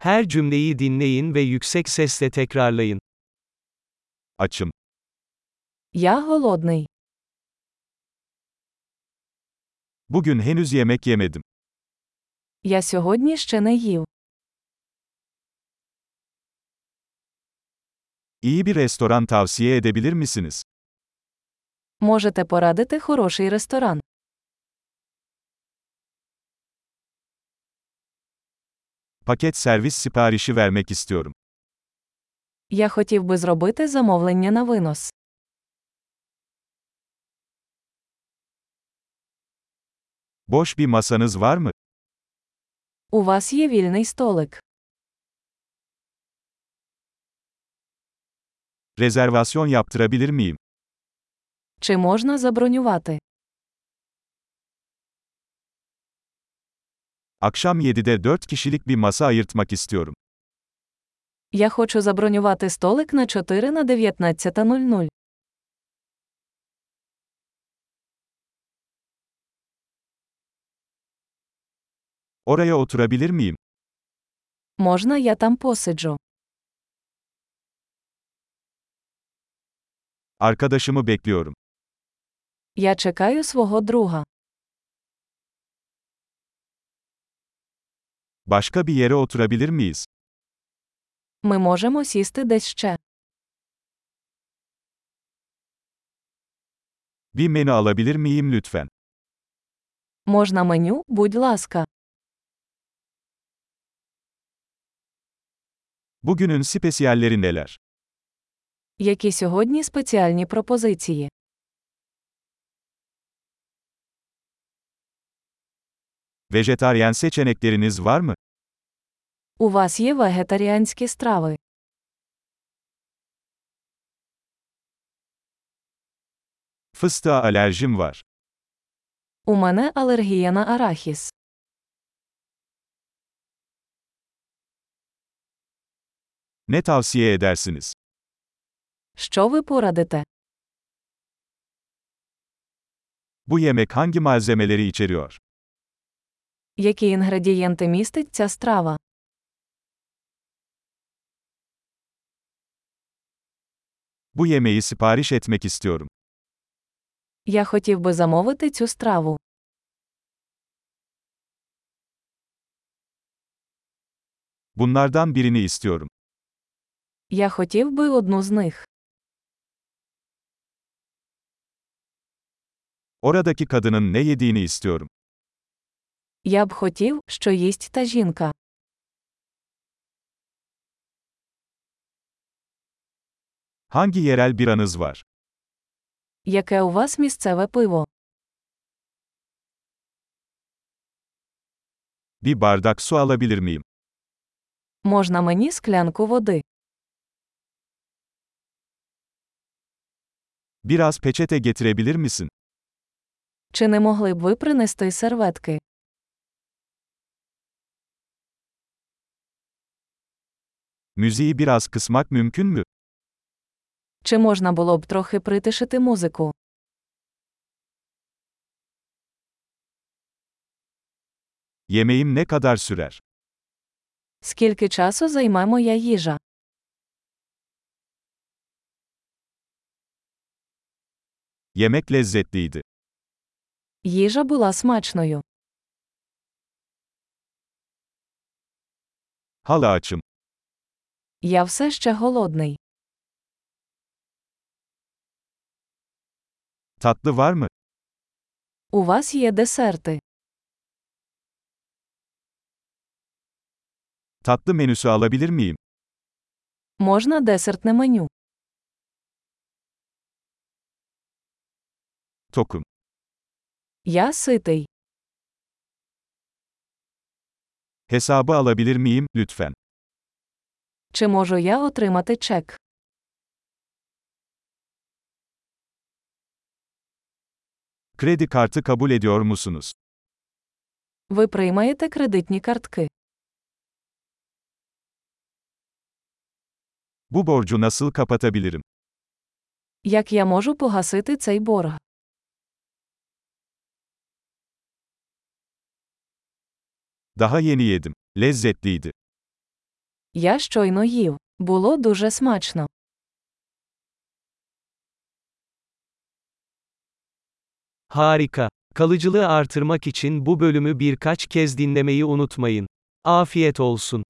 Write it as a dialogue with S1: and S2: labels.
S1: Her cümleyi dinleyin ve yüksek sesle tekrarlayın.
S2: Açım.
S3: Я голодний.
S2: Bugün henüz yemek yemedim.
S3: Я сьогодні ще не їв.
S2: İyi bir restoran tavsiye edebilir misiniz?
S3: Можете порадити хороший ресторан.
S2: Paket servis siparişi vermek istiyorum.
S3: Я хотів би зробити замовлення на винос.
S2: Boş bir masanız var mı?
S3: У вас є вільний столик.
S2: Rezervasyon yaptırabilir miyim?
S3: Чи можна забронювати?
S2: Akşam 7'de 4 kişilik bir masa ayırtmak istiyorum.
S3: Я хочу забронювати столик на 4 на 19.00.
S2: Oraya oturabilir miyim?
S3: Можна я там посиджу?
S2: Arkadaşımı bekliyorum.
S3: Я чекаю свого друга.
S2: Başka bir yere oturabilir miyiz?
S3: Ми можемо сісти десь ще.
S2: Bir menü alabilir miyim lütfen?
S3: Можна меню, будь ласка.
S2: Bugünün spesiyalleri neler?
S3: Які сьогодні спеціальні пропозиції?
S2: Vejetaryen seçenekleriniz var mı?
S3: У вас є вегетаріанські страви.
S2: Fıstığa alerjim var.
S3: У мене алергія на арахіс.
S2: Ne tavsiye edersiniz?
S3: Що ви порадите?
S2: Bu yemek hangi malzemeleri içeriyor?
S3: Які інгредієнти містить ця страва?
S2: Bu yemeği sipariş etmek istiyorum.
S3: Я хотів би замовити цю страву.
S2: Bunlardan birini istiyorum.
S3: Я хотів би одну з них.
S2: Oradaki kadının ne yediğini istiyorum.
S3: Я б хотів, що їсть та жінка.
S2: Hangi yerel biranız var?
S3: Яке у вас місцеве пиво?
S2: Bir bardak su alabilir miyim?
S3: Можна мені склянку води?
S2: Biraz peçete getirebilir misin?
S3: Чи не могли б ви принести серветки?
S2: Müziği biraz kısmak mümkün mü?
S3: Чи можна було б трохи притишити музику?
S2: Yemeğim ne kadar sürer?
S3: Скільки часу займе моя їжа?
S2: Yemek lezzetliydi.
S3: Їжа була смачною.
S2: Hala açım.
S3: Я все ще голодний.
S2: Tatlı var mı?
S3: У вас є десерти.
S2: Tatlı menüsü alabilir miyim?
S3: Можна десертне меню.
S2: Tokum.
S3: Я ситий.
S2: Hesabı alabilir miyim lütfen?
S3: Чи можу я отримати чек?
S2: Kredi kartı kabul ediyor musunuz?
S3: Ви приймаєте кредитні картки.
S2: Bu borcu nasıl kapatabilirim?
S3: Як я можу погасити цей борг?
S2: Daha yeni yedim. Lezzetliydi.
S3: Я щойно їв. Було дуже смачно.
S2: Harika. Kalıcılığı artırmak için bu bölümü birkaç kez dinlemeyi unutmayın. Afiyet olsun.